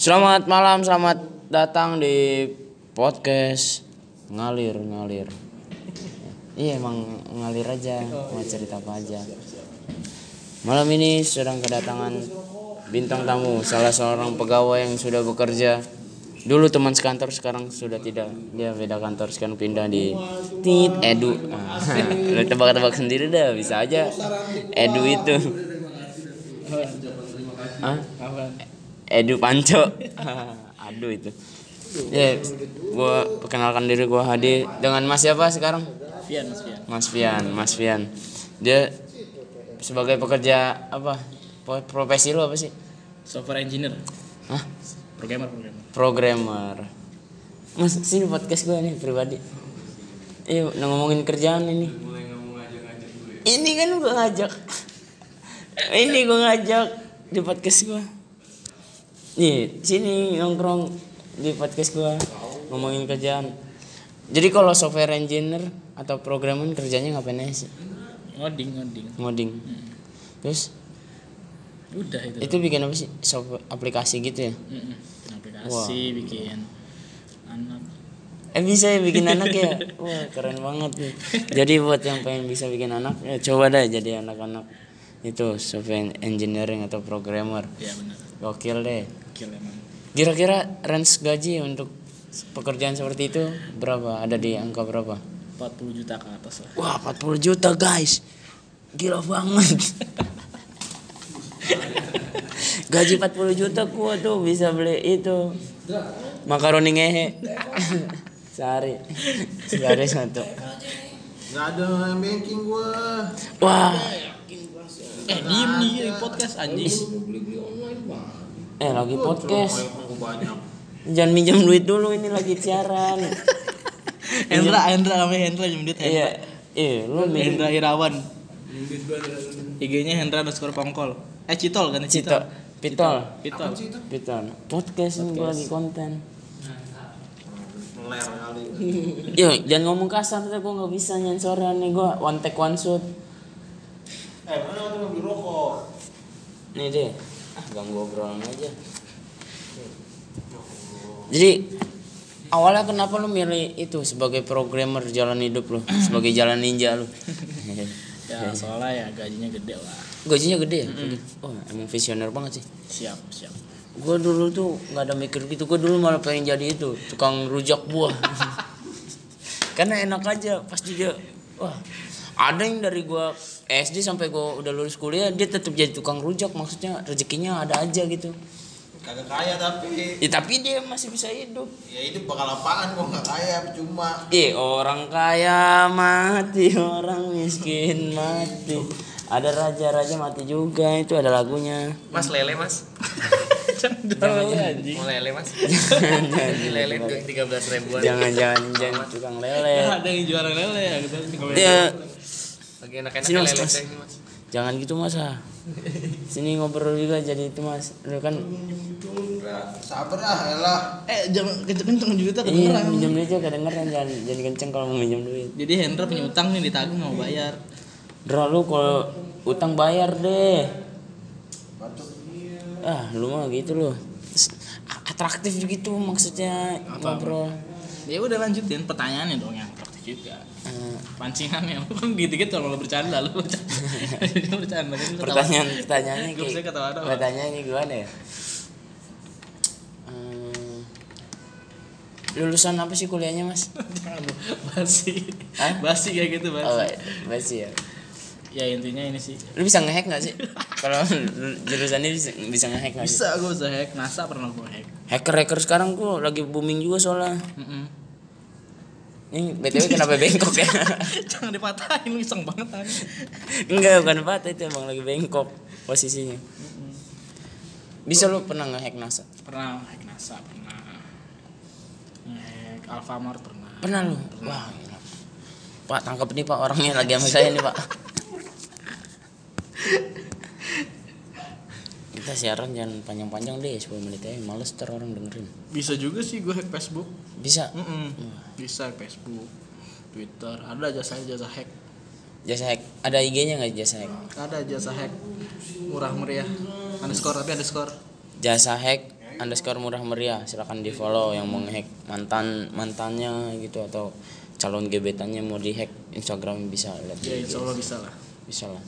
Selamat malam, selamat datang di podcast ngalir ngalir. Iya emang ngalir aja, mau cerita apa aja. Malam ini sedang kedatangan bintang tamu, salah seorang pegawai yang sudah bekerja. Dulu teman sekantor, sekarang sudah tidak. Dia beda kantor, sekarang pindah di Tit Edu. Ah, Lu tebak-tebak sendiri dah, bisa aja Edu itu. Hah? Edu Panco. Aduh itu. Ya, gua perkenalkan diri gua Hadi dengan Mas siapa sekarang? Fian, Mas Fian. Mas Fian, Mas Fian. Dia sebagai pekerja apa? Po- Profesi lu apa sih? Software engineer, Hah? programmer, programmer. Programmer. Mas sini podcast gua nih pribadi. Iya, ngomongin kerjaan ini. Ini kan gua ngajak. ini gua ngajak di podcast gua. Nih, sini nongkrong di podcast gua ngomongin kerjaan. Jadi kalau software engineer atau programmer kerjanya ngapain aja sih? Ngoding, ngoding. Ngoding. Terus Udah itu. itu bikin apa sih? Software aplikasi gitu ya? Mm-mm. Aplikasi bikin anak. Eh bisa ya bikin anak ya? Wah keren banget nih. Jadi buat yang pengen bisa bikin anak, ya coba deh jadi anak-anak itu software engineering atau programmer. Ya benar. Gokil deh. Kill emang. Kira-kira range gaji untuk pekerjaan seperti itu berapa? Ada di angka berapa? 40 juta ke atas lah. Wah 40 juta guys. Gila banget. gaji 40 juta gua tuh bisa beli itu. Makaroni ngehe. Sehari. Sehari satu. Gak ada yang banking gua. Wah. Eh, diem nih ya, podcast anjing. Eh lagi podcast. Aku banyak. Jangan minjam duit dulu ini lagi siaran. Hendra, Hendra namanya Hendra nyemdit Hendra. Iya. Eh lu minjem Hendra Irawan. IG-nya Hendra underscore pongkol. Eh, Citol kan Cito. Citol. Pitol. Citol. Pitol. Podcast ini gua lagi konten. Ngeler kali. Yo, jangan ngomong kasar tuh gua nggak bisa nyensoran nih gua one take one shoot. Eh, mana waktu beli rokok? Nih deh, ah ganggu obrolan aja. Jadi awalnya kenapa lu milih itu sebagai programmer jalan hidup lu, sebagai jalan ninja lu? Ya, soalnya ya gajinya gede lah. Gajinya gede ya? Oh, emang visioner banget sih. Siap, siap. Gua dulu tuh nggak ada mikir gitu, gua dulu malah pengen jadi itu tukang rujak buah. Karena enak aja pasti dia wah ada yang dari gua SD sampai gua udah lulus kuliah dia tetap jadi tukang rujak maksudnya rezekinya ada aja gitu. Kagak kaya tapi. Ya tapi dia masih bisa hidup. Ya itu bakal apaan gua gak kaya percuma. Eh orang kaya mati, orang miskin mati. Ada raja-raja mati juga itu ada lagunya. Mas lele mas, Jangan Iya. anjing. mau lele mas, Jangan ini lele tiga belas ribuan, jangan jangan, jangan tukang lele. Ada yang juara lele ya gitu. Ya, lagi enak-enak Sini, Mas, lele Mas. saya ini mas. jangan gitu mas ah. Sini ngobrol juga jadi itu mas. Lu kan Sabar ah, elah. Eh, jangan kenceng-kenceng juga iya kedengeran. minjem duit juga kedengeran jangan jangan kenceng kalau mau minjem duit. Jadi Hendra punya utang nih ditagih nggak mau bayar. Dra lu kalau utang bayar deh. Batuk. ah lu mah gitu lu S- a- atraktif gitu maksudnya ngobrol Ya udah lanjutin pertanyaannya dong yang praktis juga. Eh, Pancingannya lu kan dikit-dikit kalau lo bercanda lu bercanda. Dia bercanda kan lu ketawa. pertanyaan pertanyaannya Gua bisa kayak ketawa doang. pertanyaannya gimana ya Eh, lulusan apa sih kuliahnya mas Jangan lu basi. Hah? Basi kayak gitu basi. oh masih ya Ya intinya ini sih. lu bisa ngehack nggak sih kalau lu- jurusannya bisa bisa ngehack nggak sih Bisa gue bisa hack, NASA pernah gue hack. hacker hacker sekarang gua lagi booming juga soalnya Mm-mm. ini btw kenapa bengkok ya Jangan dipatahin lu iseng banget aja. enggak bukan patah itu emang lagi bengkok posisinya bisa lu pernah ngehack nasa Pernah hack NASA, pernah. Hack Alfamart pernah. Pernah lu? Wah, gila. Pak, tangkap nih Pak orangnya lagi sama saya nih Pak. Kita siaran jangan panjang-panjang deh, 10 menit aja males ter orang dengerin. Bisa juga sih gue hack Facebook. Bisa Mm-mm. Bisa Facebook, Twitter, ada jasa-jasa hack. jasa hack. Ada IG-nya nggak jasa hack? Ada jasa hack murah meriah. Underscore tapi underscore. Jasa hack underscore murah meriah silahkan di follow yang mau ngehack mantan mantannya gitu atau calon gebetannya mau dihack Instagram bisa lihat Ya insya Allah bisa lah. bisa lah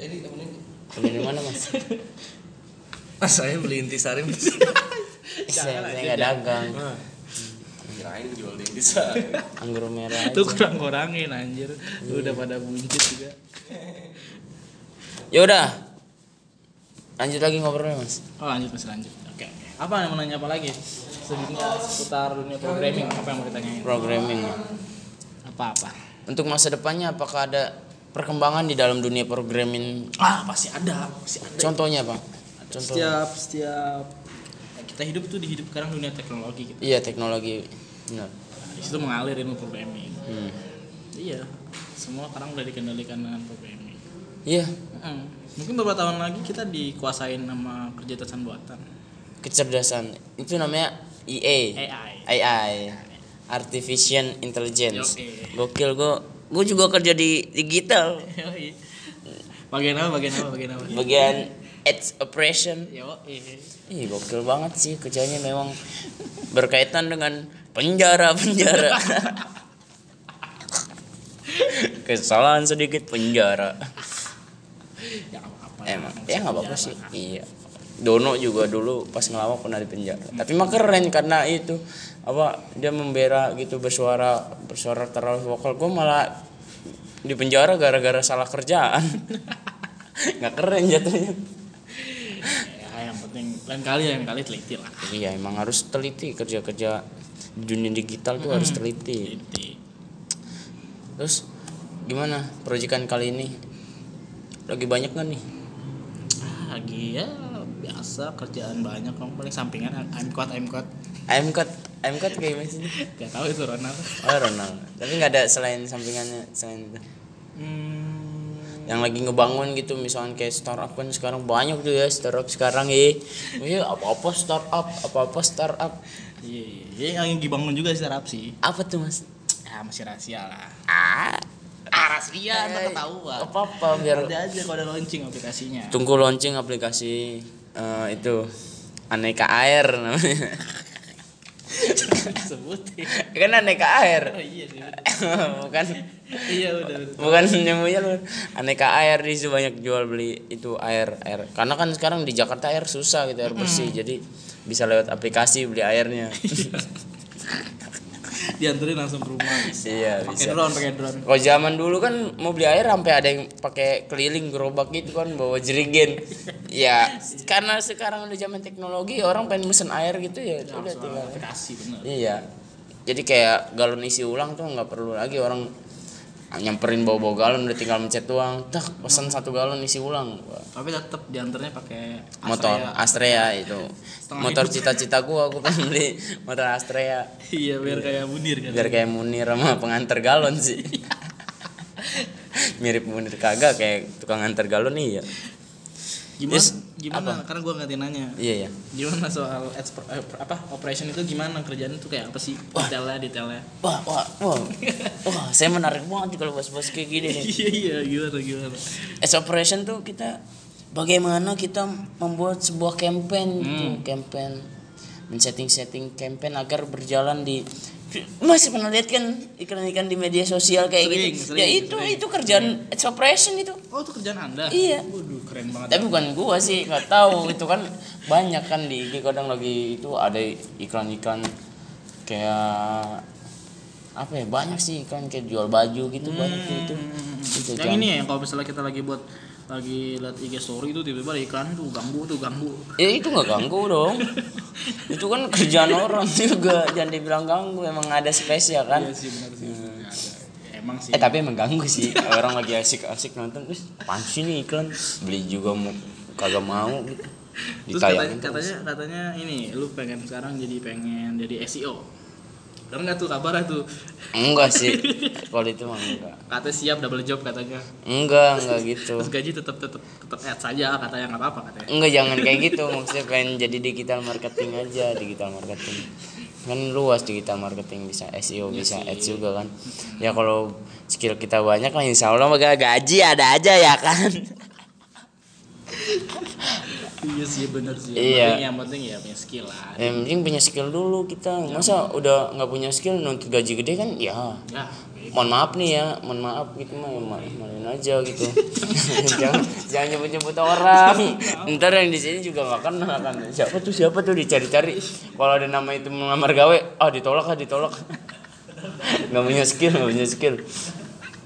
Eh, Jadi kamu ini. Beli di mana mas Mas saya beli intisari mas. saya iya. saya nggak dagang Ah. Kirain jual di intisari. anggur merah Itu aja. kurang-kurangin anjir. Udah pada buncit juga. ya udah lanjut lagi ngobrolnya mas Oh lanjut mas lanjut. Oke. oke. Apa yang mau nanya apa lagi? Sebelumnya seputar dunia programming apa yang mau ditanyain? programming lah. Apa-apa? untuk masa depannya apakah ada perkembangan di dalam dunia programming Ah pasti ada, pasti ada. contohnya pak contohnya Setiap setiap Nah, kita hidup tuh dihidup sekarang dunia teknologi gitu. iya teknologi benar Di situ mengalir ilmu programming. Hmm. Iya. Semua sekarang udah dikendalikan dengan programming. iya Heeh. Mungkin beberapa tahun lagi kita dikuasain sama kecerdasan buatan kecerdasan itu namanya EA AI. AI artificial intelligence Yoi. gokil gua gua juga kerja di digital Yoi. bagian apa? Bagian apa? Bagian apa? bagian ads operation Yoi. Ih, gokil banget sih kerjanya memang berkaitan dengan penjara penjara. Kesalahan sedikit penjara. Ya apa? Emang ya nggak apa-apa sih. Iya. Dono juga dulu pas ngelawak pernah di penjara. Tapi mah keren karena itu apa dia membera gitu bersuara bersuara terlalu vokal. Gue malah di penjara gara-gara salah kerjaan. nggak keren jatuhnya. Ya, yang penting lain kali lain kali teliti lah. Iya emang harus teliti kerja-kerja di dunia digital tuh harus teliti. Teliti. Terus gimana proyekan kali ini? Lagi banyak nggak nih? Ah, Lagi ya biasa kerjaan banyak dong paling sampingan I'm kuat I'm kuat I'm cut, I'm cut kayak gimana sih? gak tahu itu Ronald Oh Ronald. Tapi nggak ada selain sampingannya selain itu. hmm, Yang lagi ngebangun gitu misalkan kayak startup kan sekarang banyak tuh ya startup sekarang ya. Iya apa-apa startup, apa-apa startup. iya, iya, iya, yang dibangun juga startup sih Apa tuh mas? ya masih rahasia lah Ah, ah, rahasia ntar ketahuan nggak Eh, apa-apa biar ada aja kalau ada launching aplikasinya tunggu launching aplikasi eh, itu aneka air namanya sebutin kan aneka air oh, iya sih betul. bukan iya udah udah. bukan nyemunya lu aneka air di situ banyak jual beli itu air air karena kan sekarang di Jakarta air susah gitu air bersih jadi bisa lewat aplikasi beli airnya dianterin langsung ke rumah bisa iya pakai bisa drone pakai drone kalau zaman dulu kan mau beli air sampai ada yang pakai keliling gerobak gitu kan bawa jerigen ya karena sekarang udah zaman teknologi orang pengen mesen air gitu ya udah Langsung tinggal aplikasi bener Iya. Jadi kayak galon isi ulang tuh nggak perlu lagi orang nyamperin bawa-bawa galon udah tinggal mencet doang. Tak pesan satu galon isi ulang. Wah, tapi tetap diantarnya pakai Astrea. Motor Astrea itu. Setengah Motor hidup. cita-cita gua aku pengen beli motor Astrea iya biar kayak bundir kan biar kayak Munir sama pengantar galon sih. Mirip Munir kagak kayak tukang antar galon iya. gimana Yes, gimana karena gue nggak nanya Iya ya. gimana soal ads pro- eh, pro- apa operation itu gimana kerjaan itu kayak apa sih detailnya detailnya Wah, wah, wah. Wah, saya menarik banget kalau bos-bos kayak gini nih. iya iya gimana gimana as operation tuh kita bagaimana kita membuat sebuah campaign Hmm. gitu, campaign men-setting-setting campaign agar berjalan di masih pernah lihat kan iklan-iklan di media sosial kayak Sering, gitu sering, Hmm. ya itu itu kerjaan ads operation itu oh itu kerjaan anda Iya. waduh keren banget tapi bukan gua sih nggak tahu itu kan banyak kan di IG kadang lagi itu ada iklan-iklan kayak apa ya banyak sih iklan kayak jual baju gitu banyak tuh itu itu Hmm. yang ini ya yang kalau misalnya kita lagi buat lagi lihat IG story itu tiba-tiba ada iklan tuh ganggu tuh ganggu Ya itu nggak ganggu dong. itu kan kerjaan orang juga jangan dibilang ganggu emang ada spesial kan. iya sih benar sih Ada. Ya, emang sih Eh tapi emang ganggu sih orang lagi asik-asik nonton terus pansi nih iklan beli juga mau kagak mau gitu. terus katanya, Ditayangin terus. katanya katanya ini lu pengen sekarang jadi pengen jadi SEO benar nggak tuh kabar tuh Enggak sih. Kalau itu mah enggak. kata siap double job katanya Enggak, enggak gitu. terus gaji tetap tetap tetap ads saja katanya nggak apa-apa katanya Enggak jangan kayak gitu maksudnya pengen jadi digital marketing aja digital marketing kan luas digital marketing bisa SEO bisa ads juga kan ya kalau skill kita banyak lah insya Allah maka gaji ada aja ya kan iya sih bener sih Iya. yang penting yang penting ya punya skill lah Eh, yang penting punya skill dulu kita. Masa udah nggak punya skill nuntut gaji gede kan? Ya. nah Mohon maaf nih ya, mohon maaf gitu mah ya ma- maluin aja gitu. jangan jangan nyebut-nyebut orang. Ntar yang di sini juga nggak kenal kan. Siapa tuh siapa tuh dicari-cari. Kalau ada nama itu melamar gawe, ah ditolak ah ditolak. nggak punya skill, nggak punya skill.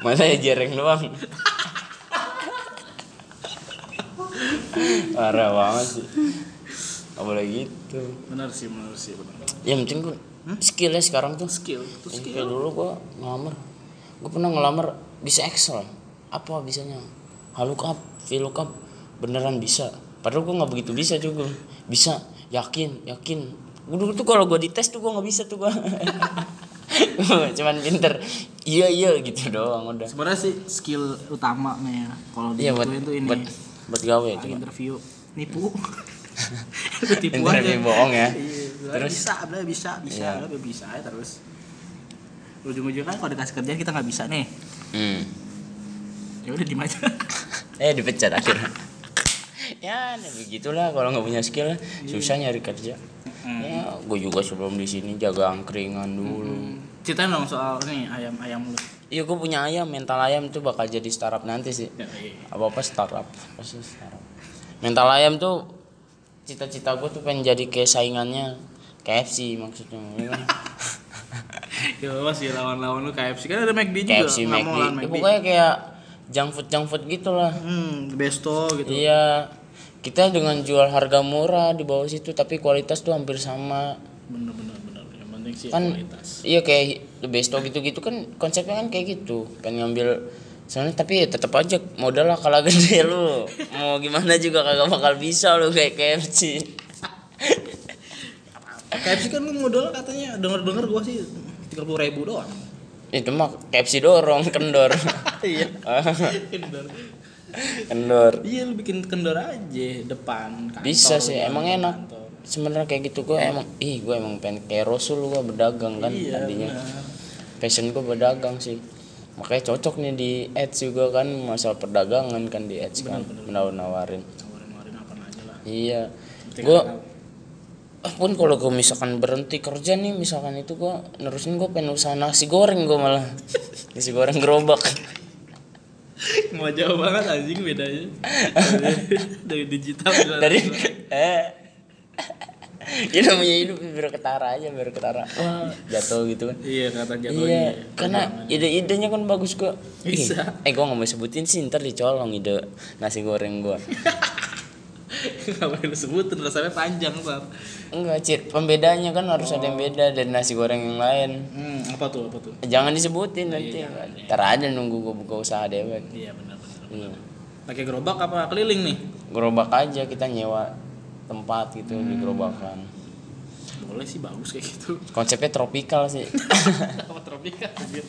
Masa ya jereng doang. Parah banget sih. Nggak boleh gitu. bener sih bener sih bener Ya yang penting gue skillnya sekarang tuh skill itu yang skill kayak Iya, dulu gua ngelamar gua pernah ngelamar bisa Excel apa bisanya Halukup, Vlookup beneran bisa padahal gua nggak begitu bisa juga bisa yakin yakin gua dulu tuh kalau gua dites tuh gua nggak bisa tuh gua cuman pinter iya iya gitu doang udah sebenarnya sih skill utama nih ya kalau iya buat dibutuhin tuh ini buat buat gawe Lagi cuma interview nipu Itu tipu aja interview bohong ya Iya, Terus? bisa bla bisa bisa Iya. bla bisa aja terus ujung-ujungnya kan kalau dikasih kerjaan kita nggak bisa nih hmm. ya udah diem aja eh dipecat akhirnya ya nah begitulah kalau nggak punya skill susah nyari kerja Hmm. ya gue juga sebelum di sini jaga angkringan Hmm. dulu ceritain dong soal ini ayam ayam lu iya gue punya ayam mental ayam tuh bakal jadi startup nanti sih Ya, iya. apa apa startup pasti startup mental ayam tuh cita-cita gue tuh pengen jadi kayak saingannya KFC maksudnya Iya kan? ya apa sih lawan-lawan lu KFC kan ada McD juga KFC nggak mau McD lawan Ya, pokoknya kayak junk food junk food gitulah hmm besto gitu Iya, kita dengan jual harga murah di bawah situ, tapi kualitas tuh hampir sama. bener bener bener yang penting sih Kan- kualitas Iya kayak the best of gitu-gitu kan konsepnya kan kayak gitu, kan ngambil soalnya tapi ya tetap aja modal lah kalau gede lu mau gimana juga kagak bakal bisa lu kayak KFC Iya. KFC kan lu modal katanya denger denger gua sih tiga puluh ribu doang itu mah KFC dorong kendor iya kendor kendor iya lu bikin kendor aja depan kantor Bisa sih, depan emang enak. kantor. sebenarnya kayak gitu gue emang ih gue emang pengen kayak Rasul gue berdagang kan iya tadinya benar. passion gue berdagang sih makanya cocok nih di ads juga kan masalah perdagangan kan di ads kan menawar nawarin nawarin-nawarin apa aja lah iya Penting gue kenal. pun kalau gue misalkan berhenti kerja nih misalkan itu gue nerusin gue pengen usaha nasi goreng gue malah nasi goreng gerobak nggak jauh banget anjing bedanya dari digital ke dari eh ya namanya hidup biar ketara aja biar ketara wah jatuh gitu kan iya kata iya, jatuhnya karena ide-idenya kan bagus gua. Ih, Bisa. Eh, gua nggak mau sebutin sih, ntar dicolong ide nasi goreng gua. nggak boleh lu sebutin rasanya panjang bang Enggak, Cir. Pembedanya kan harus ada yang beda dari nasi goreng yang lain. hmm, apa tuh apa tuh Jangan disebutin nanti. Ntar aja nunggu gua buka usaha dewek. iya benar-benar Iya. pakai gerobak apa keliling nih Gerobak aja kita nyewa tempat gitu di gerobakan. boleh sih bagus kayak gitu Konsepnya tropikal sih. apa tropika anjir.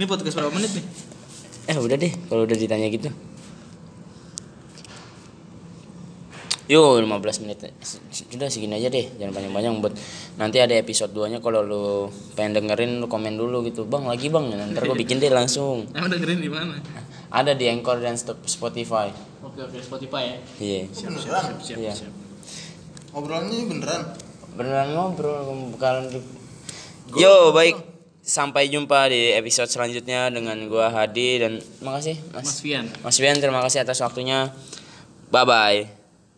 ini podcast berapa menit nih eh, udah deh kalau udah ditanya gitu. Yo 15 menit sudah segini aja deh jangan panjang-panjang buat nanti ada episode 2 nya kalau lu pengen dengerin lu komen dulu gitu bang lagi bang ntar gue bikin deh langsung emang dengerin di mana ada di Anchor dan Sto- Spotify oke oke Spotify ya iya Beneran. siap siap Iya. siap Obrolannya ini beneran. beneran ngobrol bukan yo baik sampai jumpa di episode selanjutnya dengan gua Hadi dan makasih Mas Mas Fian Mas Bian terima kasih atas waktunya bye bye